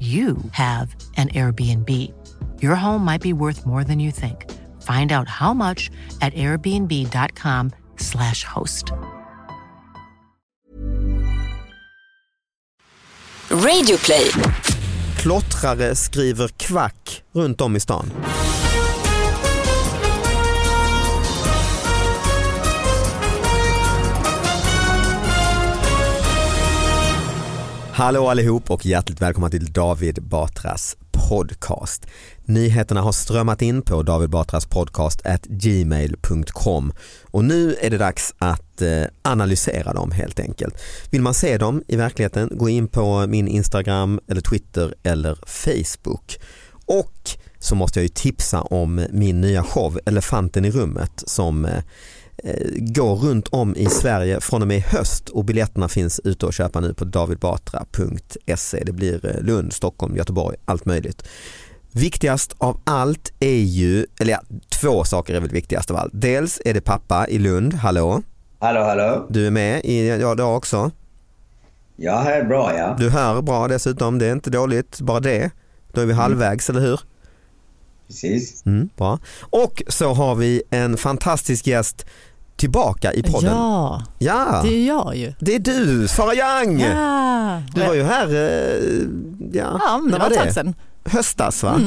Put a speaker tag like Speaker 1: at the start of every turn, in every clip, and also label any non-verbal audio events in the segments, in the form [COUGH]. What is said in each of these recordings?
Speaker 1: you have an Airbnb. Your home might be worth more than you think. Find out how much at airbnb.com/slash host.
Speaker 2: Radio play.
Speaker 3: Klottrare skriver kvack runt om i stan. Hallå allihop och hjärtligt välkomna till David Batras podcast. Nyheterna har strömmat in på David Batras podcast at gmail.com och nu är det dags att eh, analysera dem helt enkelt. Vill man se dem i verkligheten gå in på min Instagram eller Twitter eller Facebook. Och så måste jag ju tipsa om min nya show Elefanten i rummet som eh, eh, går runt om i Sverige från och med i höst och biljetterna finns ute och köpa nu på davidbatra.se. Det blir eh, Lund, Stockholm, Göteborg, allt möjligt. Viktigast av allt är ju, eller ja, två saker är väl viktigast av allt. Dels är det pappa i Lund, hallå,
Speaker 4: Hallå, hallå.
Speaker 3: du är med i, ja, då också.
Speaker 4: Ja, här är bra ja.
Speaker 3: Du hör bra dessutom, det är inte dåligt, bara det. Då är vi halvvägs, eller hur?
Speaker 4: Precis.
Speaker 3: Mm, bra. Och så har vi en fantastisk gäst tillbaka i podden.
Speaker 5: Ja,
Speaker 3: ja.
Speaker 5: det är jag ju.
Speaker 3: Det är du, Sara Young!
Speaker 5: Ja,
Speaker 3: Du var ju här, eh, ja,
Speaker 5: ja men det var ett tag sedan.
Speaker 3: Höstas va?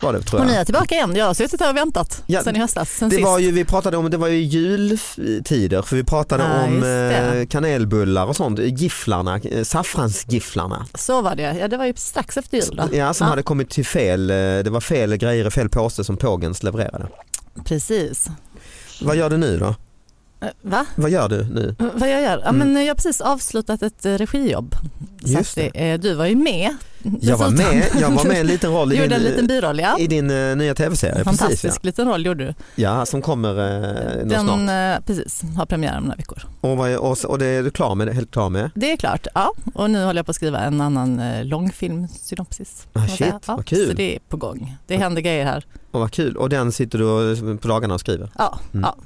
Speaker 3: Var det tror
Speaker 5: Och ni
Speaker 3: jag.
Speaker 5: är tillbaka igen. Jag har suttit här och väntat
Speaker 3: Ja,
Speaker 5: sen i höstas. Sen
Speaker 3: Det
Speaker 5: sist.
Speaker 3: var ju, vi pratade om, det var ju jultider för vi pratade
Speaker 5: Ja,
Speaker 3: om
Speaker 5: just det.
Speaker 3: eh, kanelbullar och sånt, gifflarna, eh, saffransgifflarna.
Speaker 5: Så var det. Ja, det var ju strax efter jul. Då.
Speaker 3: Ja, som hade kommit till fel, eh, det var fel grejer i fel påse som Pågens levererade.
Speaker 5: Precis.
Speaker 3: Vad gör du nu då?
Speaker 5: Eh, Va?
Speaker 3: Vad gör du nu?
Speaker 5: Eh, Vad jag gör? Ja, men eh, jag har precis avslutat ett eh, regijobb. Så
Speaker 3: Mm. Just
Speaker 5: att, eh, Du var ju med.
Speaker 3: Jag var
Speaker 5: dessutom.
Speaker 3: med, jag var med i en liten roll i
Speaker 5: Gjorde en
Speaker 3: din,
Speaker 5: liten biroll, ja.
Speaker 3: i din eh, nya tv-serie.
Speaker 5: Fantastisk
Speaker 3: Precis, ja.
Speaker 5: liten roll gjorde du.
Speaker 3: ja, som kommer eh, nog snart.
Speaker 5: Den eh, precis, har premiär om några veckor.
Speaker 3: Och, vad, och, och det är du klar med, helt klar med?
Speaker 5: Det är klart, ja. Och nu håller jag på att skriva en annan eh, långfilmsynopsis. kan man
Speaker 3: Ah, shit,
Speaker 5: säga.
Speaker 3: vad kul.
Speaker 5: Så det är på gång. Det händer grejer här.
Speaker 3: Och vad kul, och den sitter du och- eh, på dagarna och skriver.
Speaker 5: Ja, ja.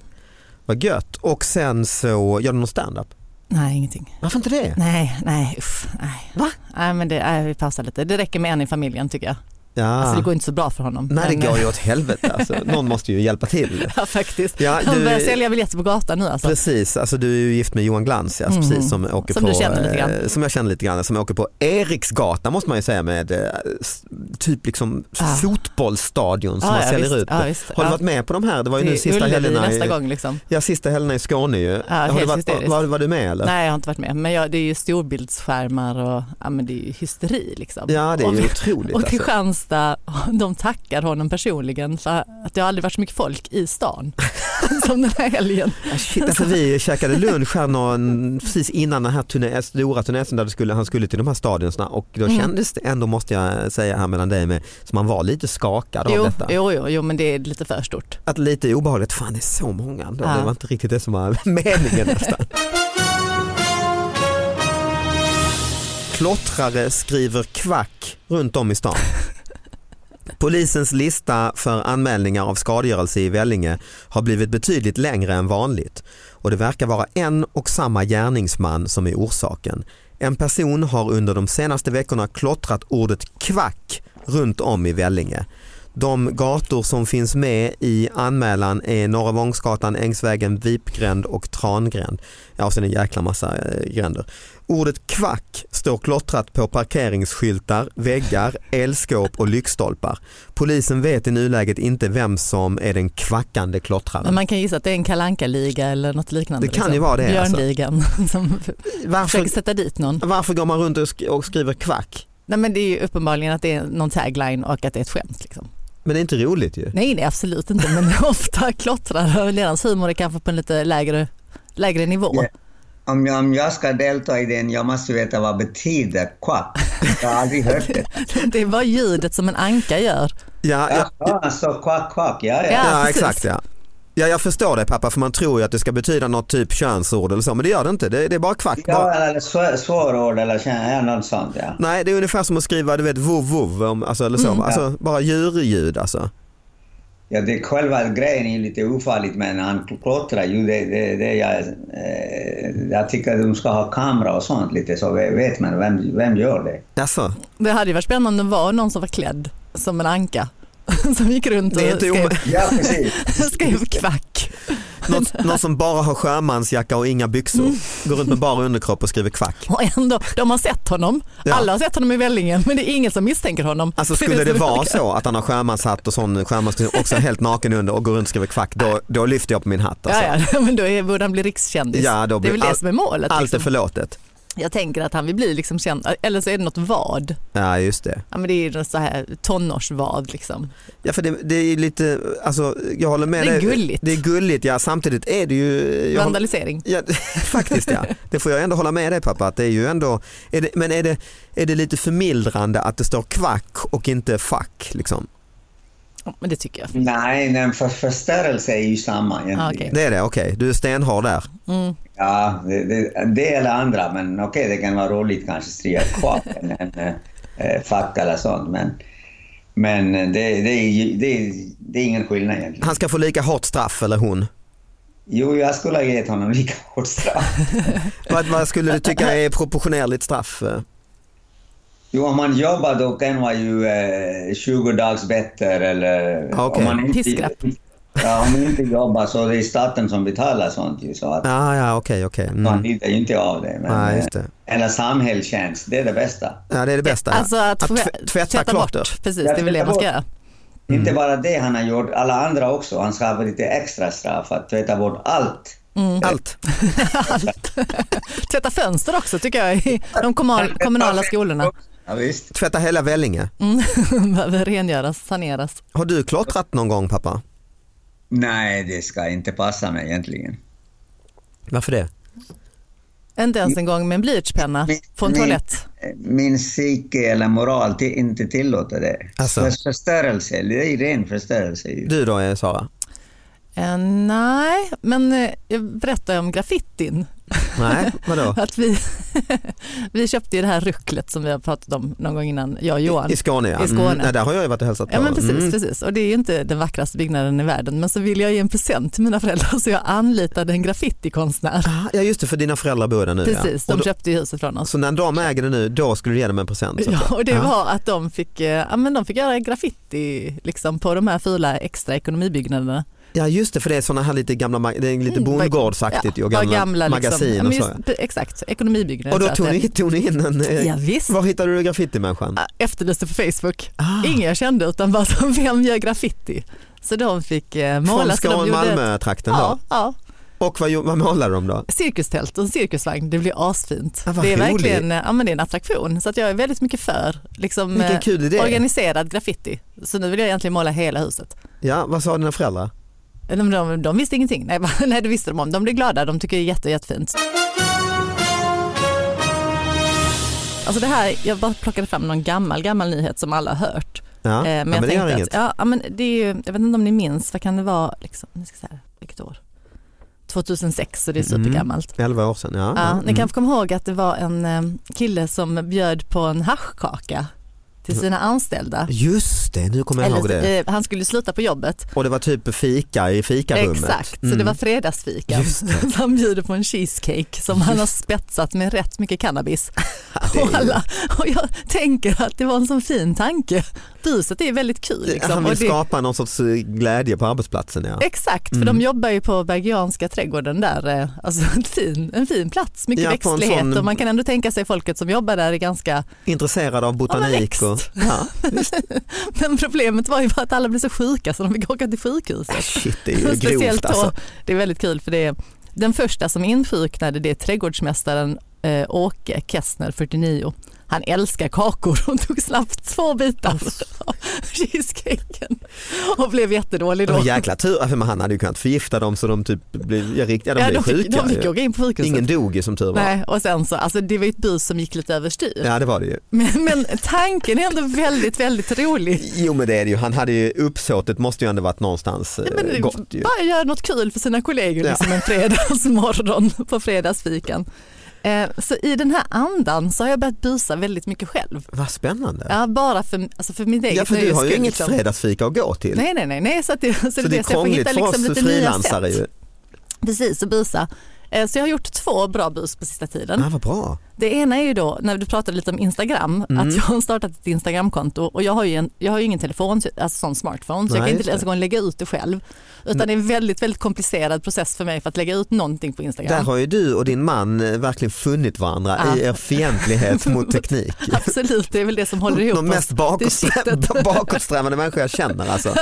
Speaker 3: Vad gött. Och sen så gör du någon standup.
Speaker 5: Nej, ingenting.
Speaker 3: Varför inte det?
Speaker 5: Nej, nej, usch, nej.
Speaker 3: Va?
Speaker 5: Nej, men det, nej, vi pausar lite. Det räcker med en i familjen tycker jag.
Speaker 3: Ja.
Speaker 5: Alltså det går inte så bra för honom.
Speaker 3: Nej det
Speaker 5: Men,
Speaker 3: går
Speaker 5: eh,
Speaker 3: ju åt helvete alltså. Någon måste ju hjälpa till.
Speaker 5: Ja, [LAUGHS] faktiskt.
Speaker 3: Ja,
Speaker 5: Han
Speaker 3: Ah, du-
Speaker 5: börjar sälja biljetter på gatan nu alltså.
Speaker 3: Precis, alltså du är ju gift med Johan Glans ja, alltså, precis, som åker
Speaker 5: Mm. Som
Speaker 3: på,
Speaker 5: du känner lite grann.
Speaker 3: eh, som jag känner lite grann, som åker på Eriksgatan måste man ju säga med eh, s- typ liksom
Speaker 5: Ah.
Speaker 3: fotbollsstadion som
Speaker 5: Ah,
Speaker 3: man
Speaker 5: ja,
Speaker 3: säljer
Speaker 5: visst.
Speaker 3: ut.
Speaker 5: Ja, visst.
Speaker 3: Har du
Speaker 5: Ja.
Speaker 3: varit med på de här? Det var ju nu
Speaker 5: Det är
Speaker 3: sista
Speaker 5: Ullevi
Speaker 3: helgerna,
Speaker 5: Typ. nästa
Speaker 3: i,
Speaker 5: gång liksom.
Speaker 3: ja, sista helgerna i Skåne ju. har du
Speaker 5: helt
Speaker 3: varit,
Speaker 5: hysteriskt.
Speaker 3: var, var du med eller?
Speaker 5: Nej, jag har inte varit med. Men jag, det är ju storbildsskärmar och ja, men det är ju hysteri liksom.
Speaker 3: Ja det är
Speaker 5: och,
Speaker 3: ju otroligt.
Speaker 5: och
Speaker 3: alltså.
Speaker 5: Kristianstad, [LAUGHS] de tackar honom personligen för att det har aldrig varit så mycket folk i stan [LAUGHS] som den här helgen.
Speaker 3: Ah, Shit, alltså vi käkade lunch här någon, precis innan den här turné, eh, stora turnén där det skulle, han skulle till de här stadionerna och då
Speaker 5: Mm.
Speaker 3: kändes det ändå måste jag säga här mellan dig och mig som man var lite skakad
Speaker 5: Jo,
Speaker 3: av detta.
Speaker 5: jo, jo, jo, men det är lite för stort.
Speaker 3: Att lite obehagligt, fan det är så många ändå.
Speaker 5: Ja.
Speaker 3: Det var [LAUGHS] inte riktigt det som var meningen nästan. Klottrare skriver kvack runt om i stan. Polisens lista för anmälningar av skadegörelse i Vellinge har blivit betydligt längre än vanligt och det verkar vara en och samma gärningsman som är orsaken. En person har under de senaste veckorna klottrat ordet kvack runt om i Vellinge. De gator som finns med i anmälan är Norra Vångsgatan, Ängsvägen, Vipgränd och Trangränd. Ja, och sen en jäkla massa eh, gränder. Ordet kvack står klottrat på parkeringsskyltar, väggar, elskåp och lyktstolpar. Polisen vet i nuläget inte vem som är den kvackande klottraren.
Speaker 5: Men man kan gissa att det är en kalanka liga eller något liknande. liksom.
Speaker 3: Det kan ju vara det, alltså.
Speaker 5: Björnligan [LAUGHS] som
Speaker 3: Varför,
Speaker 5: försöker sätta dit någon.
Speaker 3: varför går man runt och sk- och skriver kvack?
Speaker 5: Nej, men det är ju uppenbarligen att det är någon tagline och att det är ett skämt. Liksom.
Speaker 3: Men det är inte roligt ju.
Speaker 5: Nej, nej absolut inte men [LAUGHS] ofta klottrar deras humor är kanske på en lite lägre, lägre nivå.
Speaker 4: Ja. Om jag, om jag ska delta i den, jag måste veta vad betyder quack. Jag har aldrig hört
Speaker 5: [LAUGHS]
Speaker 4: det.
Speaker 5: [LAUGHS] Det är bara ljudet som en anka gör.
Speaker 3: Ja, ja,
Speaker 4: Jaha, så quack quack, ja ja.
Speaker 5: Ja.
Speaker 3: ja
Speaker 5: precis.
Speaker 3: exakt ja. Ja jag förstår det pappa för man tror ju att det ska betyda något typ könsord eller så men det gör det inte. Det, det är bara kvack.
Speaker 4: Ja,
Speaker 3: Bara.
Speaker 4: eller svår, svårord eller känner jag något sånt ja.
Speaker 3: Nej det är ungefär som att skriva du vet vov vov om- alltså, eller så.
Speaker 5: Mm.
Speaker 3: alltså, bara djurljud alltså.
Speaker 4: ja det, själva grejen är lite ofarligt men han klottrar ju. Det, det, det jag, eh, jag tycker de ska ha kamera och sånt lite så vet man vem, vem gör det.
Speaker 3: Alltså,
Speaker 5: Det hade ju varit spännande om det var någon som var klädd som en anka [LAUGHS] som gick runt och
Speaker 3: det är inte
Speaker 5: skrev,
Speaker 3: om...
Speaker 4: Ja
Speaker 5: [LAUGHS]
Speaker 4: precis.
Speaker 5: skrev kvack. [LAUGHS]
Speaker 3: något, någon som bara har sjömansjacka och inga byxor. Går runt med bara underkropp och skriver kvack.
Speaker 5: Och ändå, de har sett honom.
Speaker 3: Ja.
Speaker 5: Alla har sett honom i Vällingen men det är ingen som misstänker honom.
Speaker 3: Alltså
Speaker 5: är
Speaker 3: skulle det
Speaker 5: som är
Speaker 3: vara
Speaker 5: olika.
Speaker 3: så att han har sjömanshatt och sån sjömanskostym också helt naken under och går runt och skriver kvack då, då lyfter jag på min hatt.
Speaker 5: [LAUGHS]
Speaker 3: Alltså.
Speaker 5: Ja, ja, [LAUGHS] men då är, borde han bli rikskändis.
Speaker 3: Ja, då
Speaker 5: det är
Speaker 3: blir
Speaker 5: väl det
Speaker 3: all-
Speaker 5: som är målet.
Speaker 3: Allt är
Speaker 5: liksom.
Speaker 3: förlåtet.
Speaker 5: Jag tänker att han vill bli liksom känd, eller så är det något vad.
Speaker 3: Ja just det.
Speaker 5: Ja, men det är ju så här tonårsvad liksom.
Speaker 3: Ja för det, det är ju lite, alltså jag håller med
Speaker 5: Det är
Speaker 3: dig.
Speaker 5: gulligt.
Speaker 3: Det är gulligt ja, samtidigt är det ju... jag håller-
Speaker 5: Vandalisering.
Speaker 3: Ja, [LAUGHS] faktiskt ja, det får jag ändå hålla med dig pappa. Att det är ju ändå, är det, men är det, är det lite förmildrande att det står kvack och inte fuck? Liksom?
Speaker 5: Ja, Men det tycker
Speaker 3: Mm.
Speaker 5: jag.
Speaker 4: Nej, nej för förstörelse är ju samma egentligen.
Speaker 5: Ah, okej.
Speaker 3: Det är det, okej. Du är stenhård där.
Speaker 4: Ja, det, det, det eller andra, men okej, det kan vara roligt kanske att stria kvar en, en eh, fack eller sånt. Men, men det, det, är ju- det, är- det är ingen skillnad egentligen.
Speaker 3: Han ska få lika hårt straff eller hon.
Speaker 4: Jo, jag skulle ha gett honom lika hårt straff.
Speaker 3: Vad, vad skulle du tycka är proportionerligt straff? eh?
Speaker 4: Jo, om man jobbar då kan man ju eh, 20 dags bättre eller...
Speaker 3: Ah, okej.
Speaker 4: Om man
Speaker 5: Piskrapp.
Speaker 4: Ja, om man inte jobbar så det är staten som betalar sånt ju. Så att
Speaker 3: Ja, ja okej, okej.
Speaker 4: man
Speaker 3: Mm.
Speaker 4: lider ju inte av det. Men,
Speaker 3: Nej, just
Speaker 4: eh,
Speaker 3: det.
Speaker 4: Eller samhällstjänst, det är det bästa.
Speaker 3: Ja, det är det bästa. ja.
Speaker 5: Alltså att, få-
Speaker 3: tv- tvätta
Speaker 5: tvätta
Speaker 3: klotter.
Speaker 5: bort. Precis, det är väl det man ska
Speaker 3: [LAUGHS]
Speaker 5: göra.
Speaker 3: Mm.
Speaker 4: Inte bara det han har gjort, alla andra också. Han ska ha lite extra straff att tvätta bort allt.
Speaker 5: Mm.
Speaker 3: Allt.
Speaker 5: [LAUGHS] Tvätta fönster också tycker jag i de
Speaker 3: [LAUGHS]
Speaker 5: kommun- kommunala skolorna. Mm.
Speaker 4: Ja, visst.
Speaker 3: Tvätta hela Vellinge.
Speaker 5: [LAUGHS] Behöver rengöras, saneras.
Speaker 3: Har du klottrat någon gång pappa?
Speaker 4: Nej, det ska inte passa mig egentligen.
Speaker 3: Varför det?
Speaker 5: Inte ens en gång med en blyertspenna på en
Speaker 4: min,
Speaker 5: toalett.
Speaker 4: Min psyke eller moral till, inte tillåter det.
Speaker 3: Alltså.
Speaker 4: För förstörelse, det är ren förstörelse. ju.
Speaker 3: Du då eh, Sara?
Speaker 5: Eh, nej, men eh, jag berättade om graffitin.
Speaker 3: Nej, vadå?
Speaker 5: [LAUGHS] Att vi, vi köpte ju det här rucklet som vi har pratat om någon gång innan, jag och Johan.
Speaker 3: I Skåne ja.
Speaker 5: I Skåne.
Speaker 3: Mm, nej, där har jag ju varit och hälsat på.
Speaker 5: Ja men precis,
Speaker 3: Mm.
Speaker 5: precis. Och det är ju inte den vackraste byggnaden i världen men så ville jag ge en present till mina föräldrar så jag anlitade en graffitikonstnär.
Speaker 3: Ah, Ja just det, för dina föräldrar bor där nu
Speaker 5: Precis,
Speaker 3: ja.
Speaker 5: de
Speaker 3: Och då,
Speaker 5: köpte ju huset från oss.
Speaker 3: Så när de äger det nu, då skulle du ge dem en present? så att
Speaker 5: Ja,
Speaker 3: säga.
Speaker 5: och det
Speaker 3: Ja.
Speaker 5: var att de fick, eh, ja, men de fick göra graffiti liksom, på de här fula extra ekonomibyggnaderna.
Speaker 3: ja just det, för det är sådana här lite gamla, ma- det är lite bondgårdsaktigt
Speaker 5: Mm, Ja,
Speaker 3: och
Speaker 5: bara
Speaker 3: gamla,
Speaker 5: liksom.
Speaker 3: magasin
Speaker 5: Ja, men
Speaker 3: och så.
Speaker 5: just, Exakt, ekonomibyggnader.
Speaker 3: Och då
Speaker 5: Så att
Speaker 3: tog
Speaker 5: det-
Speaker 3: ni, tog ni in en, eh,
Speaker 5: Ja, visst.
Speaker 3: var hittade du graffitimänniskan?
Speaker 5: efterlyste på Facebook.
Speaker 3: Ah.
Speaker 5: Ingen jag kände utan bara [LAUGHS] som vem gör graffiti? Så de fick eh,
Speaker 3: Från
Speaker 5: måla. så de
Speaker 3: Skåne,
Speaker 5: gjorde ett-
Speaker 3: Malmö-trakten
Speaker 5: Ja,
Speaker 3: då?
Speaker 5: ja,
Speaker 3: Och vad, gjo- vad målade de då?
Speaker 5: cirkustält och en cirkusvagn, det blir asfint.
Speaker 3: Ja, vad
Speaker 5: det är
Speaker 3: roligt.
Speaker 5: verkligen eh, ja, men det är en attraktion så att jag är väldigt mycket för liksom,
Speaker 3: Vilken
Speaker 5: eh,
Speaker 3: kul idé.
Speaker 5: organiserad graffiti. Så nu vill jag egentligen måla hela huset. Eh,
Speaker 3: Ja, vad sa dina föräldrar?
Speaker 5: De, de, de visste ingenting, nej, [LAUGHS] bara- nej det visste de om. De blev glada, de tycker det är jätte, jättefint. Alltså det här, jag bara plockade fram någon gammal, gammal nyhet som alla har hört.
Speaker 3: Ja,
Speaker 5: Eh,
Speaker 3: ja,
Speaker 5: men jag
Speaker 3: det gör
Speaker 5: tänkte
Speaker 3: inget.
Speaker 5: att, ja, ja, men det är ju, jag vet inte om ni minns, vad kan det vara, liksom, nu ska jag säga, vilket år? 2006 så det är
Speaker 3: Mm.
Speaker 5: supergammalt.
Speaker 3: 11 år sedan, ja.
Speaker 5: Ja,
Speaker 3: Mm.
Speaker 5: ni kanske kommer ihåg att det var en eh, kille som bjöd på en haschkaka till sina anställda.
Speaker 3: Mm. Just det, nu kommer jag ihåg det.
Speaker 5: eh, han skulle sluta på jobbet.
Speaker 3: Och det var typ fika i fikarummet.
Speaker 5: Exakt, så
Speaker 3: Mm.
Speaker 5: det var fredagsfika.
Speaker 3: Just
Speaker 5: Så
Speaker 3: det.
Speaker 5: [LAUGHS] han bjuder på en cheesecake som han har spetsat med rätt mycket cannabis. [LAUGHS]
Speaker 3: det är
Speaker 5: Och,
Speaker 3: ju-
Speaker 5: alla, och jag tänker att det var en sån fin tanke. Buset är väldigt kul. Liksom.
Speaker 3: Han vill
Speaker 5: och det,
Speaker 3: skapa Mm. någon sorts eh, glädje på arbetsplatsen ja.
Speaker 5: Exakt, för de jobbar ju på Bergianska trädgården där. eh, Alltså [LAUGHS] en fin, en fin plats, mycket
Speaker 3: Ja, på en
Speaker 5: växtlighet
Speaker 3: sån-
Speaker 5: och man kan ändå tänka sig folket som jobbar där är ganska...
Speaker 3: Intresserad av botanik
Speaker 5: Ja, men
Speaker 3: och
Speaker 5: växt.
Speaker 3: ja,
Speaker 5: [LAUGHS] Men problemet var ju bara att alla blev så sjuka så de fick åka till sjukhuset.
Speaker 3: shit det är
Speaker 5: [LAUGHS]
Speaker 3: ju
Speaker 5: Speciellt
Speaker 3: grovt
Speaker 5: då,
Speaker 3: alltså.
Speaker 5: det är väldigt kul för det är, den första som insjuknade det är trädgårdsmästaren eh, Åke Kessner, 49. Han älskar kakor och tog snabbt två bitar [LAUGHS] av cheesecaken och blev jättedålig då.
Speaker 3: Och jäkla tur, ja, för han hade ju kunnat förgifta dem så de typ blev, ja, riktigt, ja, de blev
Speaker 5: de fick,
Speaker 3: sjuka.
Speaker 5: de fick
Speaker 3: ju.
Speaker 5: åka in på sjukhuset.
Speaker 3: Ingen dog ju som tur var.
Speaker 5: Nej, och sen så, alltså det var ju ett bus som gick lite överstyr.
Speaker 3: Ja det var det ju.
Speaker 5: Men, men tanken är ändå väldigt, väldigt rolig.
Speaker 3: Jo men det är det ju, han hade ju uppsåtet måste ju ändå varit någonstans eh,
Speaker 5: Men
Speaker 3: gott ju.
Speaker 5: bara göra något kul för sina kollegor
Speaker 3: Ja.
Speaker 5: liksom en fredagsmorgon [LAUGHS] på fredagsfikan. Eh, så i den här andan så har jag börjat busa väldigt mycket själv.
Speaker 3: Vad spännande.
Speaker 5: Ja, bara för, alltså för min egen
Speaker 3: Ja för du har ju
Speaker 5: nöjes skull,
Speaker 3: inget
Speaker 5: liksom.
Speaker 3: fredagsfika att gå till.
Speaker 5: Nej, nej, nej, nej. Så, att det, så,
Speaker 3: så det är
Speaker 5: så jag får
Speaker 3: krångligt
Speaker 5: hitta
Speaker 3: för
Speaker 5: liksom
Speaker 3: oss
Speaker 5: lite nya
Speaker 3: frilansare
Speaker 5: sätt.
Speaker 3: ju.
Speaker 5: Precis, och busa. Eh, Så jag har gjort två bra bus på sista tiden.
Speaker 3: Ja, vad bra.
Speaker 5: Det ena är ju då, när du pratade lite om Instagram,
Speaker 3: Mm.
Speaker 5: att jag har startat ett Instagramkonto och jag har ju, en, jag har ju ingen telefon, alltså sån smartphone, så
Speaker 3: Nej,
Speaker 5: jag kan
Speaker 3: just
Speaker 5: inte ens
Speaker 3: det.
Speaker 5: gå och lägga ut det själv. Utan det är en väldigt, väldigt komplicerad process för mig för att lägga ut någonting på
Speaker 3: Där
Speaker 5: Instagram.
Speaker 3: har ju du och din man eh, verkligen funnit varandra
Speaker 5: Ja.
Speaker 3: i
Speaker 5: [LAUGHS]
Speaker 3: er fientlighet mot teknik.
Speaker 5: [LAUGHS] Absolut, det är väl det som håller ihop
Speaker 3: De mest bakåtsträ- [LAUGHS] bakåtsträvande människor jag känner
Speaker 5: [LAUGHS]
Speaker 3: alltså.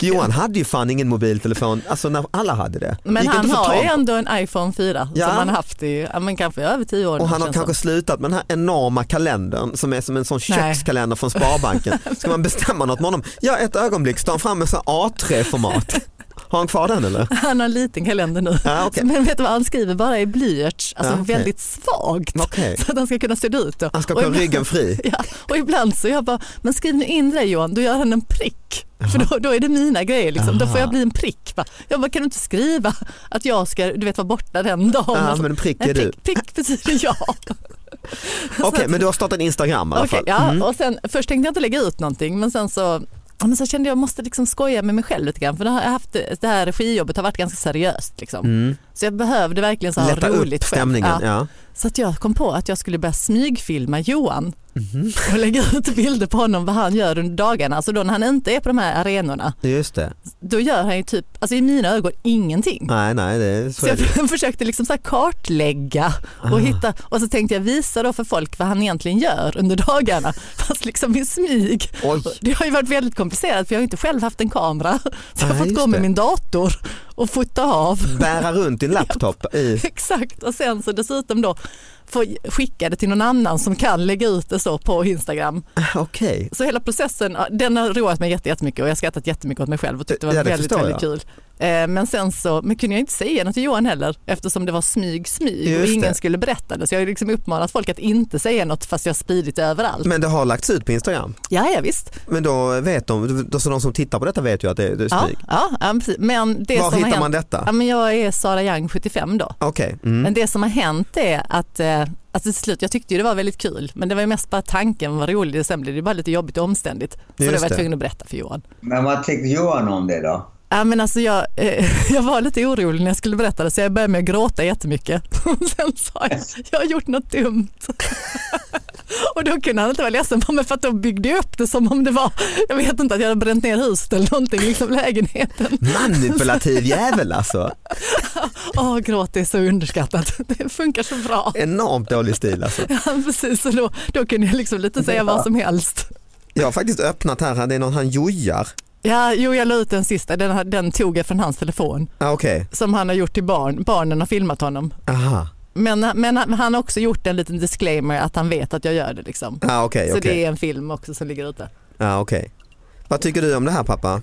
Speaker 3: Johan hade ju fan ingen mobiltelefon, alltså när alla hade det. Det
Speaker 5: Men
Speaker 3: gick
Speaker 5: han
Speaker 3: inte att få
Speaker 5: har ju
Speaker 3: tag på.
Speaker 5: ändå en iPhone 4
Speaker 3: Ja.
Speaker 5: som han har haft i ja, men kanske över tio år nu,
Speaker 3: Och han har
Speaker 5: känns det
Speaker 3: kanske slutat med den här enorma kalendern som är som en sån
Speaker 5: Nej.
Speaker 3: kökskalender
Speaker 5: [LAUGHS]
Speaker 3: från Sparbanken. Ska man bestämma något med honom? Ja ett ögonblick, står han fram med sån A3-format. Har han kvar
Speaker 5: [LAUGHS]
Speaker 3: den eller?
Speaker 5: Han har en liten kalender nu.
Speaker 3: Ja, Ah, okej.
Speaker 5: Men vet du vad han skriver? Bara i blyerts, alltså
Speaker 3: Ja, okej.
Speaker 5: väldigt svagt. [LAUGHS]
Speaker 3: Okej.
Speaker 5: Så att han ska kunna sudda ut det.
Speaker 3: Han ska ha
Speaker 5: Och ibland-
Speaker 3: ryggen fri.
Speaker 5: [LAUGHS] Ja, och ibland så jag bara, men skriv nu in det Johan, då gör han en prick. För då, då är det mina grejer, liksom. då får jag bli en prick. Va? Jag bara, kan du inte skriva att jag ska du vet, vara borta den dagen? Alltså,
Speaker 3: Ja, Ah, men en prick
Speaker 5: Nej,
Speaker 3: är du.
Speaker 5: Prick, prick betyder
Speaker 3: [LAUGHS]
Speaker 5: jag.
Speaker 3: Okej men du har startat Instagram i alla
Speaker 5: Okej,
Speaker 3: fall. Mm.
Speaker 5: ja, och sen, först tänkte jag inte lägga ut någonting men sen så ja, men sen kände jag att jag måste liksom skoja med mig själv lite grann för det, har jag haft, det här regijobbet har varit ganska seriöst. Liksom. Så jag behövde verkligen så här
Speaker 3: Mm. Lätta
Speaker 5: roligt
Speaker 3: upp
Speaker 5: själv.
Speaker 3: stämningen.
Speaker 5: Ja.
Speaker 3: Ja.
Speaker 5: Så att jag kom på att jag skulle börja smygfilma Johan
Speaker 3: Mhm.
Speaker 5: och lägga ut bilder på honom vad han gör under dagarna. Alltså då när han inte är på de här arenorna,
Speaker 3: Just det.
Speaker 5: då gör han ju typ, alltså i mina ögon, ingenting.
Speaker 3: Nej, nej, det är så.
Speaker 5: Så
Speaker 3: är det. Ah.
Speaker 5: jag [LAUGHS] försökte liksom så här kartlägga och hitta och så tänkte jag visa då för folk vad han egentligen gör under dagarna [LAUGHS] fast liksom i smyg.
Speaker 3: Oj.
Speaker 5: Det har ju varit väldigt komplicerat för jag har ju inte själv haft en kamera [LAUGHS] så jag
Speaker 3: Nej,
Speaker 5: har fått
Speaker 3: just
Speaker 5: gå med
Speaker 3: det.
Speaker 5: min dator och fota av. [LAUGHS]
Speaker 3: Bära runt din laptop i...
Speaker 5: Exakt och sen så dessutom då få skicka det till någon annan som kan lägga ut det så på Instagram.
Speaker 3: Okej.
Speaker 5: Så hela processen, ja, den har roat mig jätte- jättemycket och jag har skrattat jättemycket åt mig själv och tyckt det var
Speaker 3: Ja, det
Speaker 5: väldigt,
Speaker 3: förstår
Speaker 5: väldigt kul. Eh, Men sen så men kunde jag inte säga något till Johan heller eftersom det var smyg, smyg och
Speaker 3: Just
Speaker 5: ingen
Speaker 3: det.
Speaker 5: skulle berätta det. Så jag har liksom uppmanat folk att inte säga något fast jag har spridit det överallt.
Speaker 3: Men det har lagts ut på Instagram.
Speaker 5: Ja, ja visst.
Speaker 3: Men då vet de, då, så de som tittar på detta vet ju att det, det är
Speaker 5: Ja,
Speaker 3: smyg.
Speaker 5: ja, ja, precis. Men det
Speaker 3: Var
Speaker 5: som har
Speaker 3: hittar man
Speaker 5: hänt,
Speaker 3: detta?
Speaker 5: Ja, men jag är Sara Young 75 då.
Speaker 3: Okej. Mm.
Speaker 5: Men det som har hänt är att eh, Alltså till slut, jag tyckte ju det var väldigt kul men det var ju mest bara tanken var rolig sen blev det ju bara lite jobbigt och omständigt. Så
Speaker 3: Just
Speaker 5: det var
Speaker 3: det.
Speaker 5: jag tvungen att berätta för Johan.
Speaker 4: Men vad tyckte Johan om det då?
Speaker 5: Ja, men alltså jag, eh, [LAUGHS] jag var lite orolig när jag skulle berätta det så jag började med att gråta jättemycket. [LAUGHS] Och sen sa jag jag har gjort något dumt. [LAUGHS] Och då kunde han inte vara ledsen på mig för att då byggde jag upp det som om det var, jag vet inte att jag hade bränt ner huset eller någonting, liksom lägenheten. [LAUGHS]
Speaker 3: Manipulativ jävel alltså.
Speaker 5: Åh, gråt är så underskattat. [LAUGHS] Det funkar så bra.
Speaker 3: Enormt dålig stil alltså.
Speaker 5: Ja, precis, så då, då kunde jag liksom lite säga vad som helst.
Speaker 3: Jag har faktiskt öppnat här, det är någon han jojar.
Speaker 5: Ja, jo, jag la ut den sista, den, den tog jag från hans telefon
Speaker 3: Ah, Okej,
Speaker 5: som han har gjort till barn, barnen har filmat honom.
Speaker 3: aha.
Speaker 5: Men, men han han har också gjort en liten disclaimer att han vet att jag gör det. Liksom.
Speaker 3: Ah, okej,
Speaker 5: Så
Speaker 3: okej.
Speaker 5: det är en film också som ligger ute.
Speaker 3: Ah, okej. Vad tycker du om det här pappa?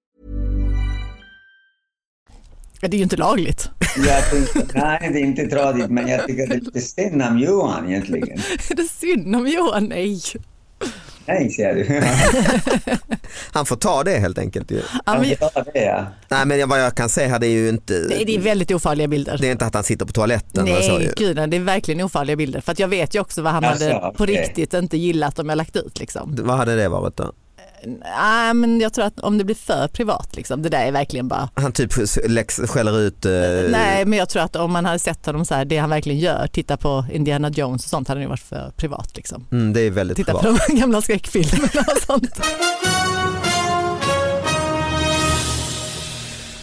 Speaker 5: Ja, det är ju inte lagligt. [LAUGHS]
Speaker 4: Jag tänkte, [LAUGHS] nej, det är inte tradigt, men jag tycker det är lite synd om Johan egentligen.
Speaker 5: Är det synd om Johan? Nej.
Speaker 4: Nej, ser du. [LAUGHS]
Speaker 3: Han får ta det helt enkelt. Ju.
Speaker 5: Ja, men,
Speaker 4: Ja, det är jag.
Speaker 3: Nej men vad jag kan säga här det är ju inte,
Speaker 5: nej, det är väldigt ofarliga bilder.
Speaker 3: det är inte att han sitter på toaletten. eller så, ju.
Speaker 5: Nej, gud, nej, det är verkligen ofarliga bilder. För att jag vet ju också vad han
Speaker 4: Alltså,
Speaker 5: hade på
Speaker 4: okej.
Speaker 5: riktigt inte gillat om jag lagt ut. Liksom.
Speaker 3: Vad hade det varit då?
Speaker 5: Nej, men jag tror att om det blir för privat, liksom, det där är verkligen bara...
Speaker 3: Han typ läx- skäller ut, eh,
Speaker 5: Nej, men jag tror att om man hade sett honom så här, det han verkligen gör, titta på Indiana Jones och sånt, hade det ju varit för privat. Liksom.
Speaker 3: mm, det är väldigt
Speaker 5: Titta
Speaker 3: privat.
Speaker 5: på de gamla skräckfilmerna och sånt.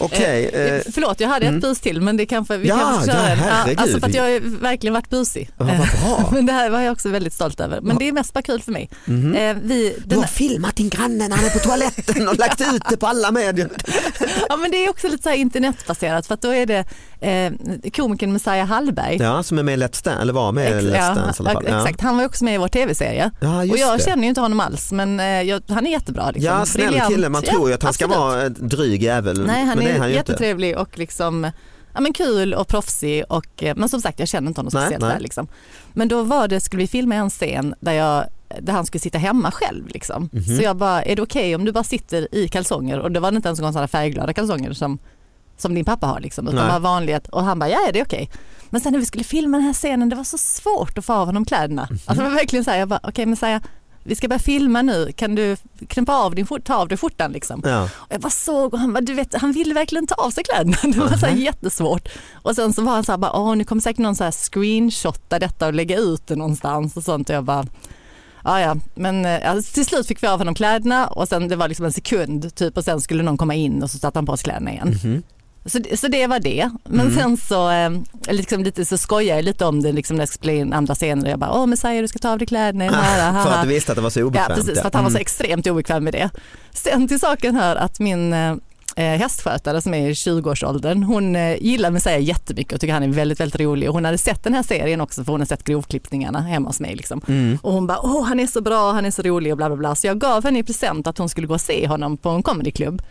Speaker 3: Okej,
Speaker 5: Eh,
Speaker 3: eh,
Speaker 5: Förlåt, jag hade ett bus till men det kanske vi
Speaker 3: Ja,
Speaker 5: kanske
Speaker 3: ja,
Speaker 5: en.
Speaker 3: herregud.
Speaker 5: alltså för att jag har ju verkligen varit busig.
Speaker 3: Ja, vad bra.
Speaker 5: [LAUGHS] men det här var jag också väldigt stolt över. Men det är mest bara kul för mig.
Speaker 3: Mhm.
Speaker 5: Eh, vi,
Speaker 3: du
Speaker 5: den,
Speaker 3: har filmat din granne när han är på toaletten och lagt ut det på
Speaker 5: [LAUGHS]
Speaker 3: alla medier.
Speaker 5: ja, men det är också lite så här internetbaserat för att då är det eh, komikern Messiah Hallberg.
Speaker 3: Ja, som är med i Let's Dance, eller var med
Speaker 5: Ex-
Speaker 3: i Let's
Speaker 5: ja,
Speaker 3: Dance i alla fall. Ja.
Speaker 5: Exakt, han var ju också med i vår tv-serie.
Speaker 3: Ja, just
Speaker 5: och jag
Speaker 3: det.
Speaker 5: känner ju inte honom alls men eh, jag, han är jättebra. Liksom.
Speaker 3: Ja, snäll
Speaker 5: Briljant.
Speaker 3: kille. Man tror ju att han ska
Speaker 5: absolut.
Speaker 3: vara en dryg jävel.
Speaker 5: Nej, han
Speaker 3: men det är
Speaker 5: är,
Speaker 3: han ju inte.
Speaker 5: jättetrevlig [LAUGHS] och liksom, ja, men kul och proffsig. Och, eh, men som sagt, jag känner inte honom
Speaker 3: Nej,
Speaker 5: speciellt
Speaker 3: nej.
Speaker 5: Där, liksom. Men då var det, skulle vi filma en scen där, jag, där han skulle sitta hemma själv. Liksom.
Speaker 3: Mhm.
Speaker 5: Så jag bara, är det okej om du bara sitter i kalsonger? Och det var inte ens någon sån här färgglada kalsonger som, som din pappa har. Liksom, utan
Speaker 3: Nej.
Speaker 5: bara vanligt. Och han bara, ja ja, det är okej. Men sen när vi skulle filma den här scenen, det var så svårt att få av honom kläderna.
Speaker 3: Mhm.
Speaker 5: Alltså det var verkligen så här, jag bara, okej men säga vi ska börja filma nu, kan du knäppa av din, skjort- ta av dig skjortan liksom?
Speaker 3: Ja.
Speaker 5: Och jag bara såg och han bara, du vet, han ville verkligen ta av sig kläderna. [LAUGHS] Det var så här jättesvårt. Och sen så var han så här, bara, åh nu kommer säkert någon så här screenshotta detta och lägga ut det någonstans och sånt. Och jag bara, ja ja, men eh, alltså, till slut fick vi av honom kläderna och sen det var liksom en sekund typ och sen skulle någon komma in och så satte han på sig kläderna igen.
Speaker 3: Mhm.
Speaker 5: Så, det- så det var det. Men
Speaker 3: Mm.
Speaker 5: sen så, eh, liksom lite, så skojade jag lite om det liksom när jag skulle in andra scener. Jag bara, åh Messiah du ska ta av dig kläderna. Jag bara,
Speaker 3: [LAUGHS] För
Speaker 5: haha.
Speaker 3: att du visste att det var så
Speaker 5: Ja
Speaker 3: obekvämt.
Speaker 5: precis, för att han var så extremt obekväm med det. Sen till saken hör att min eh, hästskötare som är i 20-årsåldern, hon eh, gillar Messiah jättemycket och tycker han är väldigt, väldigt rolig. Och hon hade sett den här serien också för hon har sett grovklippningarna hemma hos mig. Liksom. Och hon bara, åh han är så bra, han är så rolig och bla bla bla. Så jag gav henne i present att hon skulle gå och se honom på en comedyklubb.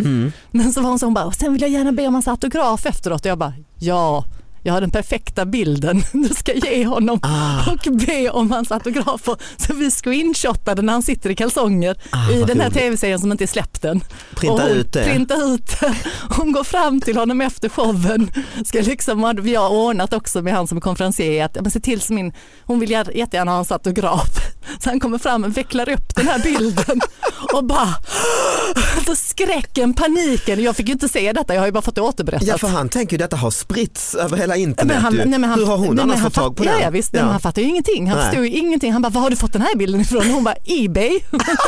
Speaker 5: Men så var hon så, hon bara, och sen vill jag gärna be om hans autograf efteråt. Och jag bara, ja. Jag har den perfekta bilden [LAUGHS] du ska ge honom
Speaker 3: Ah.
Speaker 5: och be om hans autografer. Så vi screenshotade när han sitter i kalsonger
Speaker 3: Ah,
Speaker 5: i
Speaker 3: vad
Speaker 5: den här
Speaker 3: roligt.
Speaker 5: tv-serien som inte är släppt än.
Speaker 3: Printa
Speaker 5: Och hon,
Speaker 3: ut det.
Speaker 5: Printa ut det. Hon går fram till honom efter showen. Ska liksom, vi har ordnat också med han som är konferencier att ja, men se till så min, hon vill jätte- jättegärna ha hans autograf. Så han kommer fram och vecklar upp den här bilden och bara Alltså skräcken, paniken. Jag fick ju inte se detta, jag har ju bara fått det återberättat.
Speaker 3: Ja för han tänker ju detta har spritts över hela internet
Speaker 5: Men han-
Speaker 3: ju.
Speaker 5: nej, men han-
Speaker 3: Hur har hon
Speaker 5: nej, men
Speaker 3: annars
Speaker 5: han
Speaker 3: fått tag på
Speaker 5: fatt-
Speaker 3: den?
Speaker 5: Ja, ja, visst, nej, men han fattar ju ingenting. Han
Speaker 3: Nej.
Speaker 5: förstod ju ingenting. Han bara, var har du fått den här bilden ifrån? Och Hon bara, Ebay. [LAUGHS]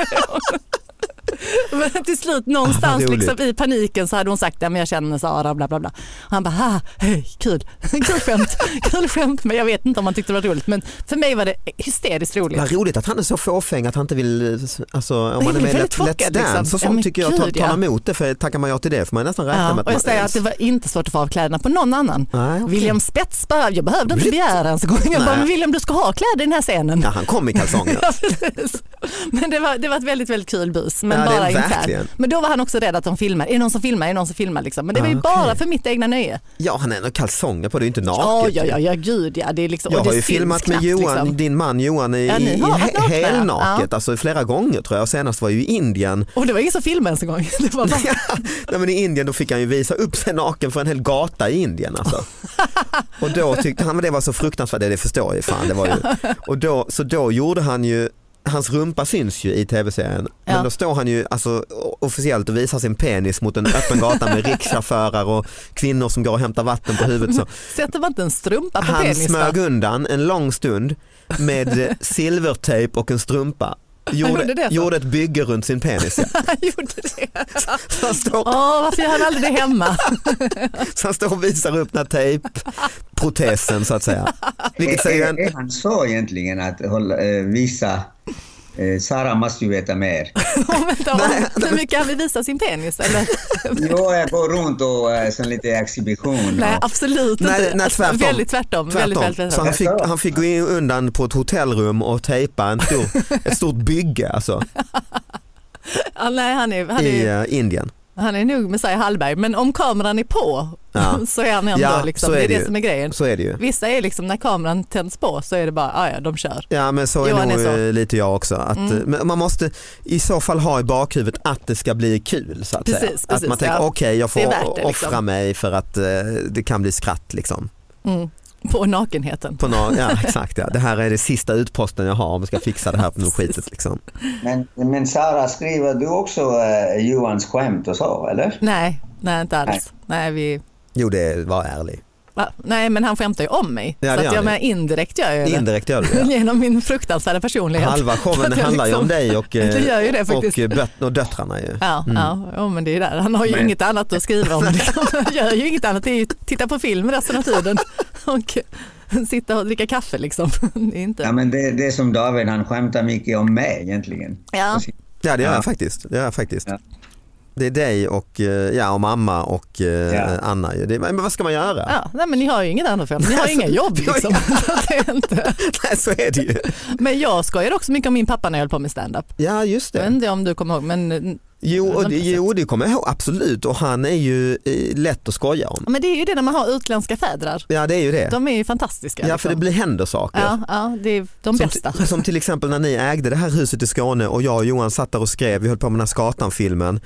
Speaker 5: Men till slut
Speaker 3: Ah, vad
Speaker 5: någonstans
Speaker 3: roligt.
Speaker 5: liksom, i paniken så hade hon sagt, ja, men jag känner Sara, bla bla bla. Och han bara, ha, hej, kul, [LAUGHS] kul skämt, kul skämt. Men jag vet inte om han tyckte det var roligt, men för mig var det hysteriskt roligt.
Speaker 3: Vad roligt att han är så fåfäng att han inte vill, alltså om
Speaker 5: Jag
Speaker 3: man är
Speaker 5: blev
Speaker 3: med i
Speaker 5: väldigt
Speaker 3: Let's Let's
Speaker 5: chockad, liksom.
Speaker 3: Dance och
Speaker 5: Ja,
Speaker 3: sånt
Speaker 5: men
Speaker 3: tycker jag
Speaker 5: gud,
Speaker 3: tar, tar
Speaker 5: ja.
Speaker 3: emot det för tackar man ja till det får man nästan räkna med
Speaker 5: Ja,
Speaker 3: att
Speaker 5: och
Speaker 3: man
Speaker 5: jag säger att det var inte svårt att få av kläderna på någon annan.
Speaker 3: Nej, okej.
Speaker 5: William Spets bara, jag behövde inte begära ens en gång. Jag bara,
Speaker 3: Nej.
Speaker 5: men William du ska ha kläder i den här scenen.
Speaker 3: Ja, han kom
Speaker 5: [LAUGHS]
Speaker 3: i kalsonger.
Speaker 5: Ja, precis. Men det var, det var ett väldigt, väldigt kul bus. Men,
Speaker 3: Ja, det är
Speaker 5: bara
Speaker 3: verkligen.
Speaker 5: internt. men då var han också rädd att de filmar. Är det någon som filmar? Är det någon som filmar? Liksom. Men det var ju
Speaker 3: Ah,
Speaker 5: bara
Speaker 3: okej.
Speaker 5: för mitt egna nöje.
Speaker 3: Ja han är nog kalsonger på det är ju inte
Speaker 5: Ja,
Speaker 3: naket.
Speaker 5: ja, ja, ja, gud ja. Det är liksom,
Speaker 3: Jag
Speaker 5: och det
Speaker 3: har ju
Speaker 5: syns
Speaker 3: filmat med
Speaker 5: knappt,
Speaker 3: Johan,
Speaker 5: liksom.
Speaker 3: din man Johan i,
Speaker 5: Ja, ni
Speaker 3: i
Speaker 5: har varit
Speaker 3: he-
Speaker 5: nakna, ja.
Speaker 3: helnaket,
Speaker 5: Ja.
Speaker 3: alltså flera gånger tror jag. Och senast var ju i Indien.
Speaker 5: Och det var ingen som filmade ens en gång. [LAUGHS] Det var bara,
Speaker 3: Nej, men I Indien då fick han ju visa upp sig naken för en hel gata i Indien. Alltså. Och då tyckte han att det var så fruktansvärt, det det förstår jag ju fan. Det var ju. Och då, så då gjorde han ju hans rumpa syns ju i tv-serien.
Speaker 5: Ja.
Speaker 3: Men då står han ju alltså, o- officiellt och visar sin penis mot en öppen gata med rickchaufförer och kvinnor som går och hämtar vatten på
Speaker 5: [LAUGHS]
Speaker 3: huvudet. Så.
Speaker 5: Sätter man inte en strumpa på
Speaker 3: Han
Speaker 5: penis
Speaker 3: smög
Speaker 5: då?
Speaker 3: undan en lång stund med eh, silvertejp och en strumpa.
Speaker 5: gjorde det
Speaker 3: Gjorde,
Speaker 5: så?
Speaker 3: gjorde ett bygge runt
Speaker 5: [LAUGHS]
Speaker 3: sin penis. ja.
Speaker 5: [LAUGHS] Han gjorde det. [LAUGHS]
Speaker 3: Så han står
Speaker 5: Åh, varför gör han aldrig det hemma? [LAUGHS]
Speaker 3: [LAUGHS] Så han står och visar upp den här tejpprotesen så att säga. Vilket
Speaker 4: Är-
Speaker 3: säger
Speaker 4: [LAUGHS]
Speaker 3: en,
Speaker 4: är, är han så Eh, egentligen att hålla, eh, visa... Eh, Sara måste ju
Speaker 5: [LAUGHS]
Speaker 4: veta mer.
Speaker 5: Om vänta,
Speaker 3: alltså-
Speaker 5: om, hur mycket han vill visa sin penis? Eller?
Speaker 4: Jo, jag går runt och eh, sen lite exhibition.
Speaker 5: Nej, alltså-
Speaker 4: och,
Speaker 5: absolut
Speaker 3: nej,
Speaker 5: inte.
Speaker 3: nej tvärtom.
Speaker 5: alltså, Väldigt tvärtom. Väldigt, väldigt,
Speaker 3: Så
Speaker 5: tvärtom.
Speaker 3: han fick, han fick gå in undan på ett hotellrum och tejpa en stor, ett stort bygge alltså,
Speaker 5: [LAUGHS] Ja, nej, han, är, han,
Speaker 3: i
Speaker 5: är,
Speaker 3: eh, Indien.
Speaker 5: han är nog Messiah Hallberg, men om kameran är på
Speaker 3: Ja.
Speaker 5: [LAUGHS] så är han ändå
Speaker 3: Ja,
Speaker 5: liksom.
Speaker 3: så
Speaker 5: Det
Speaker 3: är
Speaker 5: är
Speaker 3: det
Speaker 5: det
Speaker 3: ju.
Speaker 5: som är grejen.
Speaker 3: Så är det ju.
Speaker 5: Vissa är liksom när kameran tänds på så är det bara, "Ah, ja ja, de kör.
Speaker 3: Ja men så är
Speaker 5: Johan är
Speaker 3: nog
Speaker 5: så. Mm.
Speaker 3: eh, lite jag också. Att, eh, men Man måste i så fall ha i bakhuvudet att det ska bli kul. Så att,
Speaker 5: Precis,
Speaker 3: säga. att
Speaker 5: precis,
Speaker 3: man tänker
Speaker 5: ja.
Speaker 3: okej jag får
Speaker 5: Det är värt det, liksom.
Speaker 3: offra mig för att eh, det kan bli skratt. Liksom.
Speaker 5: På nakenheten.
Speaker 3: På nå- ja,
Speaker 5: [LAUGHS]
Speaker 3: exakt, ja. Det här är det sista utposten jag har om jag ska fixa det här på något
Speaker 5: Precis.
Speaker 3: skitet. Liksom.
Speaker 4: men, men Sara, skriver du också eh, Johans skämt och så, eller?
Speaker 5: Nej, nej inte alls. Nej, vi,
Speaker 3: Jo det var ärlig.
Speaker 5: va? nej men han skämtar ju om mig.
Speaker 3: Ja, det
Speaker 5: så
Speaker 3: gör
Speaker 5: att jag
Speaker 3: han ju.
Speaker 5: menar indirekt gör jag ju det.
Speaker 3: Indirekt gör du
Speaker 5: [LAUGHS]
Speaker 3: det.
Speaker 5: Genom min fruktansvärda personlighet.
Speaker 3: Halva
Speaker 5: Så [LAUGHS] att
Speaker 3: showen
Speaker 5: jag
Speaker 3: handlar ju
Speaker 5: liksom-
Speaker 3: om
Speaker 5: [LAUGHS]
Speaker 3: dig och, eh,
Speaker 5: Det gör ju det faktiskt.
Speaker 3: och, eh, böt- och döttrarna. Ju.
Speaker 5: Ja, ja, ja, men det är där. Han har ju inget annat att skriva
Speaker 3: [LAUGHS]
Speaker 5: om. Liksom. Han gör ju inget annat. Det är ju att titta på film resten av
Speaker 3: [LAUGHS]
Speaker 5: tiden och sitta och dricka kaffe liksom. Det är
Speaker 4: Ja,
Speaker 5: inte...
Speaker 4: men det, det är som David, han skämtar mycket om mig egentligen.
Speaker 5: Ja.
Speaker 3: Ja det gör
Speaker 4: Ja.
Speaker 3: jag faktiskt. Det, gör jag faktiskt.
Speaker 4: Ja.
Speaker 3: det är dig och, eh, ja, och mamma och eh,
Speaker 4: Ja.
Speaker 3: Anna. ju. Det, men vad ska man göra?
Speaker 5: Ja, nej, men ni har ju inget annat för Ni har ju
Speaker 3: Alltså,
Speaker 5: inga jobb liksom. Så att [LAUGHS] det är inte.
Speaker 3: [LAUGHS] Nej, så är det ju.
Speaker 5: Men jag skojar också mycket om min pappa när jag höll på med standup.
Speaker 3: Ja just
Speaker 5: Jag vet
Speaker 3: det.
Speaker 5: inte om du kommer ihåg men,
Speaker 3: Jo, och,
Speaker 5: Men-
Speaker 3: det- jo det kommer jag ihåg absolut och han är ju eh, lätt att skoja om.
Speaker 5: men det är ju det när man har utländska fädrar.
Speaker 3: Ja det är ju det.
Speaker 5: De är ju fantastiska.
Speaker 3: Ja för det
Speaker 5: liksom.
Speaker 3: blir, händer saker.
Speaker 5: ja, ja, det är de
Speaker 3: Som,
Speaker 5: bästa.
Speaker 3: t- som till exempel när ni ägde det här huset i Skåne och jag och Johan satt där och skrev, vi höll på med den här Skatan-filmen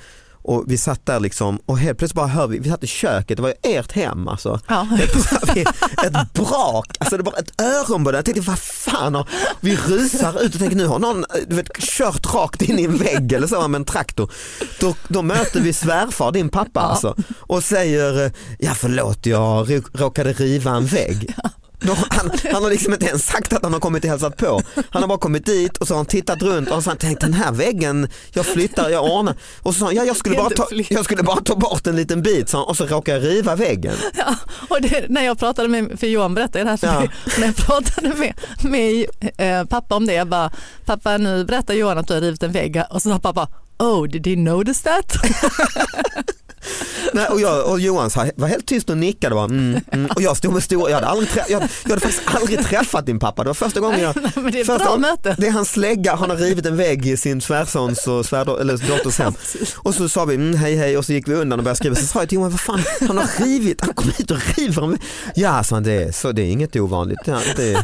Speaker 3: och vi satt där liksom och helt plötsligt bara hör vi, vi satt i köket, det var ju ert hem alltså.
Speaker 5: Ja.
Speaker 3: Helt [LAUGHS] plötsligt hör vi ett brak, alltså det var ett öronbåde, jag tänkte vad fan, har- vi rusar ut och tänker nu har någon du vet, kört rakt in i en vägg eller så med en traktor. Då, då möter vi svärfar, din pappa alltså och säger, ja förlåt jag rå- råkade riva en vägg. Då, han, han har liksom inte ens sagt att han har kommit och hälsat på. Han har bara kommit dit och så har han tittat runt och så har han tänkt den här väggen, jag flyttar, jag ordnar. Och så sa han, ja, jag, skulle bara ta, jag skulle bara ta bort en liten bit sa han, och så råkar jag riva väggen.
Speaker 5: Ja, och det, när jag pratade med, för Johan berättade det här för
Speaker 3: Ja.
Speaker 5: mig, när jag pratade med, med eh, pappa om det, jag bara, pappa nu berättar Johan att du har rivit en vägg och så sa pappa, oh did you notice that?
Speaker 3: Nej, och, jag, och Johan så här, var helt tyst och nickade bara, mm, mm. och jag stod med stora, jag hade, aldrig trä, jag, jag hade faktiskt aldrig träffat din pappa, det var första gången jag
Speaker 5: Nej, men det är ett
Speaker 3: första,
Speaker 5: bra möte.
Speaker 3: Det är hans slägga, han har rivit en vägg i sin svärsons och svärdo- eller dotters hem. Och så sa vi mm, hej hej och så gick vi undan och började skriva, så sa jag till Johan, vad fan, han har rivit, han kom hit och river en vägg. Ja, sa han, det, är- så det är inget ovanligt, Ja, det,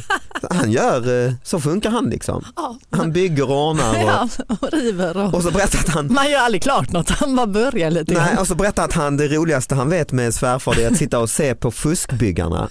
Speaker 3: han gör, eh, så funkar han liksom. Han bygger
Speaker 5: [LAUGHS]
Speaker 3: och ordnar och,
Speaker 5: Ja, och river och,
Speaker 3: och så berättade han
Speaker 5: man gör aldrig klart något, han bara börjar lite
Speaker 3: Nej,
Speaker 5: grann.
Speaker 3: och så berättar att han, det roligaste han vet med svärfar det är att sitta och se på fuskbyggarna.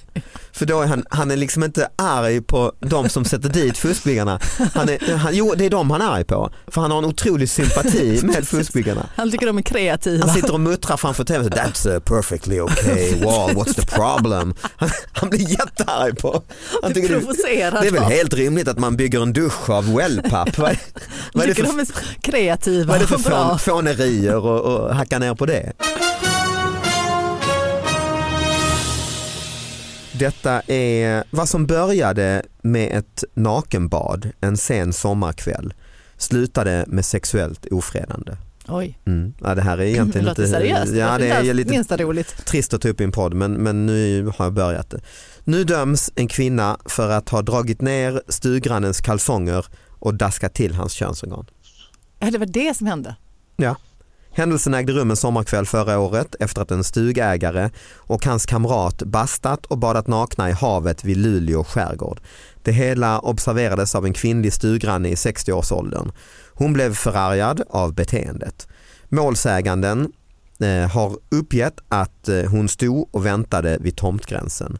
Speaker 3: För då är han, han är liksom inte arg på de som sätter dit fuskbyggarna. Han är, han, jo, det är de han är arg på. För han har en otrolig sympati med fuskbyggarna.
Speaker 5: Han tycker de är kreativa.
Speaker 3: Han sitter och muttrar framför tvn. så, That's a perfectly okay wall, what's the problem? Han, han blir jättearg på. Han
Speaker 5: Blir
Speaker 3: tycker
Speaker 5: provocerad
Speaker 3: det är väl
Speaker 5: av.
Speaker 3: helt rimligt att man bygger en dusch av wellpapp. Vad, är- vad är det
Speaker 5: tycker
Speaker 3: för
Speaker 5: de är så kreativa
Speaker 3: vad är det för
Speaker 5: och bra.
Speaker 3: fån, fånerier och, och hacka ner på det? Detta är vad som började med ett nakenbad en sen sommarkväll slutade med sexuellt ofredande.
Speaker 5: Oj,
Speaker 3: Mm. Ja, det här
Speaker 5: [LAUGHS]
Speaker 3: är
Speaker 5: det
Speaker 3: egentligen
Speaker 5: låter seriöst.
Speaker 3: Ja, det är lite
Speaker 5: minsta roligt.
Speaker 3: trist att ta upp i en podd men, men nu har jag börjat det. Nu döms en kvinna för att ha dragit ner stuggrannens kalsonger och daskat till hans könsorgan.
Speaker 5: Ja, det var det som hände.
Speaker 3: Ja. Händelsen ägde rum en sommarkväll förra året efter att en stugägare och hans kamrat bastat och badat nakna i havet vid Luleå skärgård. Det hela observerades av en kvinnlig stugranne i 60-årsåldern. Hon blev förargad av beteendet. Målsäganden eh, har uppgett att eh, hon stod och väntade vid tomtgränsen.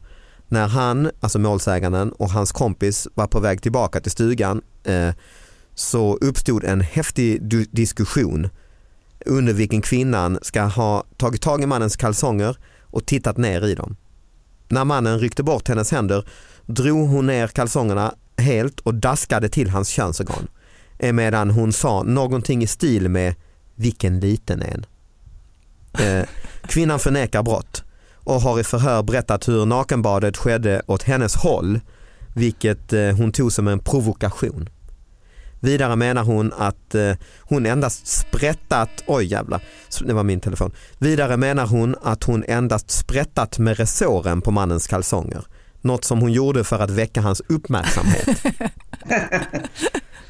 Speaker 3: När han, alltså målsäganden och hans kompis var på väg tillbaka till stugan eh, så uppstod en häftig du- diskussion under vilken kvinnan ska ha tagit tag i mannens kalsonger och tittat ner i dem. När mannen ryckte bort hennes händer drog hon ner kalsongerna helt och daskade till hans könsorgan. Medan hon sa någonting i stil med “vilken liten en”. Eh, Kvinnan förnekar brott och har i förhör berättat hur nakenbadet skedde åt hennes håll vilket eh, hon tog som en provokation. Vidare menar hon att eh, hon endast sprättat, oj jävlar, det var min telefon. Vidare menar hon att hon endast sprättat med resåren på mannens kalsonger. Något som hon gjorde för att väcka hans uppmärksamhet.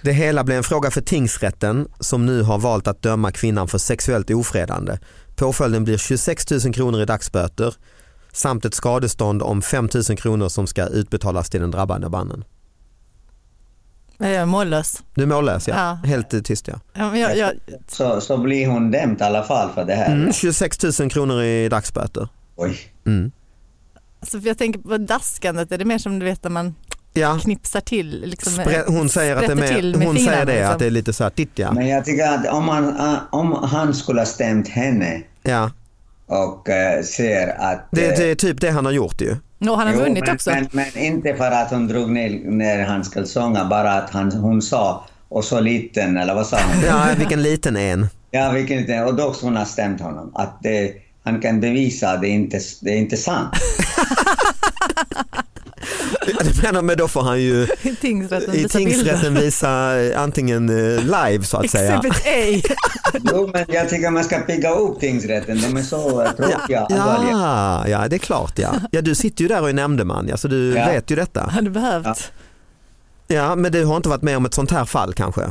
Speaker 3: det hela blev en fråga för tingsrätten som nu har valt att döma kvinnan för sexuellt ofredande. Påföljden blir 26 000 kronor i dagsböter samt ett skadestånd om 5 000 kronor som ska utbetalas till den drabbade mannen.
Speaker 5: Jag är Eh, mållös.
Speaker 3: Du är mållös ja,
Speaker 5: Ja.
Speaker 3: helt eh, tyst ja.
Speaker 5: Ja, men jag, jag,
Speaker 4: Så, så blir hon dömd i alla fall för det här.
Speaker 3: Mm, 26 000 kronor i dagsböter.
Speaker 4: Oj.
Speaker 5: alltså, för jag tänker på daskandet, är det mer som du vet när man
Speaker 3: Ja,
Speaker 5: knipsar till? Liksom,
Speaker 3: sprä- hon säger att det är,
Speaker 5: sprätter till
Speaker 3: mer, hon
Speaker 5: fingrarna,
Speaker 3: säger det,
Speaker 5: liksom.
Speaker 3: att det är lite så här titt ja.
Speaker 4: Men jag tycker att om han, eh, om han skulle ha stämt henne
Speaker 3: ja.
Speaker 4: och eh, ser att...
Speaker 3: Det,
Speaker 4: eh,
Speaker 3: det är typ det han har gjort ju.
Speaker 5: Nå, han har
Speaker 4: Jo,
Speaker 5: vunnit
Speaker 4: men,
Speaker 5: också.
Speaker 4: Men, men inte för att hon drog ner, ner hans kalsonger, bara att han, hon sa och så liten, eller vad sa hon?
Speaker 3: Ja, vilken liten en.
Speaker 4: ja, vilken liten. Och då hon har stämt honom. Att det, han kan bevisa att det inte det är
Speaker 3: [LAUGHS]
Speaker 4: inte sant.
Speaker 3: Men, men då får han ju
Speaker 5: [LAUGHS] I tingsrätten
Speaker 3: i
Speaker 5: visar bilder.
Speaker 3: tingsrätten visa eh, antingen eh, live så att säga.
Speaker 5: Exhibit A. [LAUGHS]
Speaker 4: Jo, men jag tycker man ska pigga upp tingsrätten. De är så eh, tråkiga och allvarliga.
Speaker 3: Ja, ja, det är klart ja. Ja, du sitter ju där och är nämndeman ja, så du
Speaker 4: Ja.
Speaker 3: vet ju detta.
Speaker 5: Hade behövt.
Speaker 3: Ja, men du har inte varit med om ett sånt här fall kanske?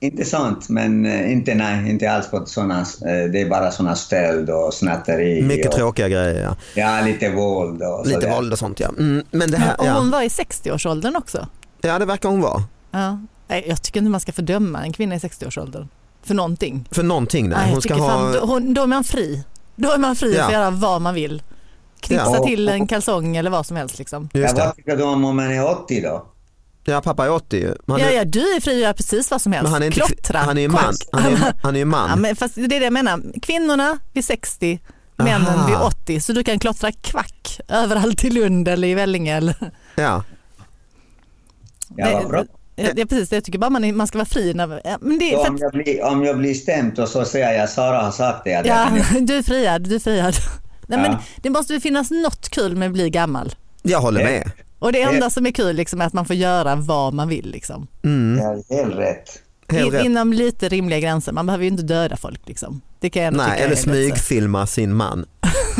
Speaker 4: Inte sant, men eh, inte nej, inte alls på sådana. Det är bara sådana stöld och snatteri.
Speaker 3: Mycket
Speaker 4: och,
Speaker 3: tråkiga grejer ja.
Speaker 4: Ja, lite våld och
Speaker 3: Lite
Speaker 4: sådär.
Speaker 3: våld och sånt ja. Mm, men det här,
Speaker 5: Och hon
Speaker 3: ja.
Speaker 5: var i 60-årsåldern också.
Speaker 3: ja, det verkar hon vara.
Speaker 5: Ja. Nej, jag tycker inte man ska fördöma en kvinna i 60-årsåldern för någonting.
Speaker 3: För någonting
Speaker 5: Nej,
Speaker 3: där.
Speaker 5: jag
Speaker 3: Hon ska
Speaker 5: tycker fan, då,
Speaker 3: ha...
Speaker 5: hon, då är man fri. Då är man fri
Speaker 3: Ja.
Speaker 5: att göra vad man vill. Knipsa
Speaker 3: Ja.
Speaker 5: till en kalsong eller vad som helst. Liksom.
Speaker 4: Ja,
Speaker 3: Just det.
Speaker 4: vad tycker du om om man är 80 då?
Speaker 3: Ja, pappa är 80 ju. Men han
Speaker 5: Ja,
Speaker 3: är-
Speaker 5: ja, du är fri att göra precis vad som helst.
Speaker 3: Men han är inte...
Speaker 5: Klottra,
Speaker 3: Han är ju man.
Speaker 5: konst.
Speaker 3: Han är, han är ju
Speaker 5: Ja,
Speaker 3: man.
Speaker 5: men fast det är det jag menar. Kvinnorna vid 60, männen
Speaker 3: Aha.
Speaker 5: vid 80. Så du kan klottra kvack överallt i Lund eller i Vellinge. Eller.
Speaker 3: Ja.
Speaker 4: Ja, vad bra.
Speaker 5: Ja, det är precis det. Jag tycker bara man, är, man ska vara fri. När, ja, men det är
Speaker 4: Så
Speaker 5: för [LAUGHS]
Speaker 4: Om
Speaker 5: att,
Speaker 4: jag, blir, om jag blir stämd och så säger jag Sara har sagt det. att jag
Speaker 5: ja, [LAUGHS]
Speaker 4: kan-
Speaker 5: du är friad. Du är friad. Nej, men
Speaker 4: Ja.
Speaker 5: det måste ju finnas något kul med att bli gammal.
Speaker 3: Jag håller med.
Speaker 5: Och det enda som är kul liksom, är att man får göra vad man vill. Liksom.
Speaker 4: Det är helt rätt.
Speaker 3: Helt
Speaker 5: In,
Speaker 3: rätt.
Speaker 5: inom lite rimliga gränser. Man behöver ju inte döda folk. Liksom. Det kan jag ändå
Speaker 3: Nej,
Speaker 5: tycka
Speaker 3: eller
Speaker 5: är lite-
Speaker 3: smygfilma
Speaker 5: [LAUGHS]
Speaker 3: sin man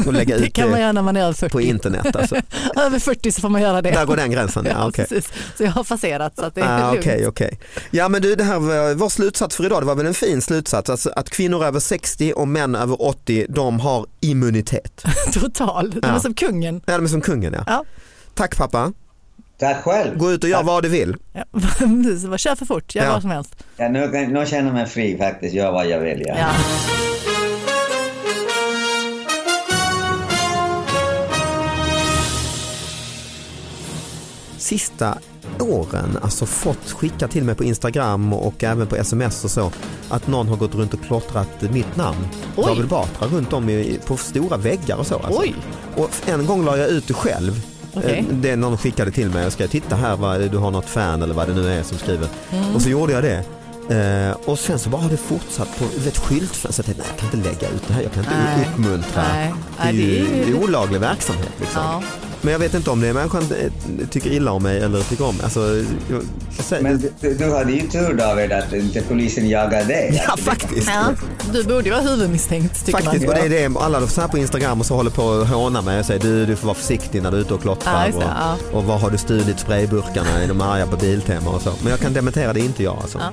Speaker 3: och lägga
Speaker 5: Det
Speaker 3: ut
Speaker 5: kan man
Speaker 3: det
Speaker 5: göra när man är över 40.
Speaker 3: på internet. Alltså.
Speaker 5: Över 40 så får man göra det.
Speaker 3: Där går den gränsen. Ja,
Speaker 5: [LAUGHS] Ja,
Speaker 3: okej.
Speaker 5: precis. Så jag har passerat så att det är
Speaker 3: Ah,
Speaker 5: lugnt.
Speaker 3: okej, okej. Ja men du, det här var vår slutsats för idag, det var väl en fin slutsats, alltså att kvinnor över 60 och män över 80, de har
Speaker 5: [LAUGHS]
Speaker 3: immunitet.
Speaker 5: Total. De är
Speaker 3: Ja.
Speaker 5: som kungen.
Speaker 3: Ja, de är som kungen ja.
Speaker 5: Ja.
Speaker 3: Tack pappa,
Speaker 4: Tack själv.
Speaker 3: gå ut och gör vad du vill.
Speaker 5: Ja, [LAUGHS] precis. Bara Kör för fort, gör
Speaker 3: Ja.
Speaker 5: vad som helst.
Speaker 4: Ja, nu, kan- nu känner jag mig fri faktiskt. Gör vad jag vill. Ja.
Speaker 5: Ja.
Speaker 3: sista åren alltså fått skicka till mig på Instagram och även på sms och så att någon har gått runt och klottrat mitt namn,
Speaker 5: Oj.
Speaker 3: David Batra, runt om i, på stora väggar och så. Alltså.
Speaker 5: Oj.
Speaker 3: Och en gång la jag ut det själv.
Speaker 5: Okej.
Speaker 3: Eh, Det någon skickade till mig och skrev titta här vad, du har något fan eller vad det nu är som skriver.
Speaker 5: Mm.
Speaker 3: Och så gjorde jag det. Eh, och sen så bara har det fortsatt på du vet, skyltfönster. Så jag tänkte, nej, jag kan inte lägga ut det här, jag kan inte
Speaker 5: Nej.
Speaker 3: uppmuntra.
Speaker 5: Nej. Nej,
Speaker 3: det, är ju,
Speaker 5: det är ju-
Speaker 3: olaglig verksamhet. Liksom.
Speaker 5: Ja.
Speaker 3: Men jag vet inte om det är människan eh, tycker illa om mig eller tycker om mig. Alltså, jag, jag säger,
Speaker 4: Men du, du hade ju tur David att inte polisen jagade dig.
Speaker 3: [LAUGHS] ja, faktiskt.
Speaker 5: Ja. Du borde ju vara huvudmisstänkt tycker
Speaker 3: Faktiskt,
Speaker 5: man.
Speaker 3: och det är det alla så här på Instagram och så håller på och hånar mig och säger du, du får vara försiktig när du är ute och
Speaker 5: Ja,
Speaker 3: klottrar
Speaker 5: just det,
Speaker 3: och, och var har du stulit sprayburkarna i de arga på Biltema och så. Men jag kan dementera, det är inte jag alltså.
Speaker 5: Ja.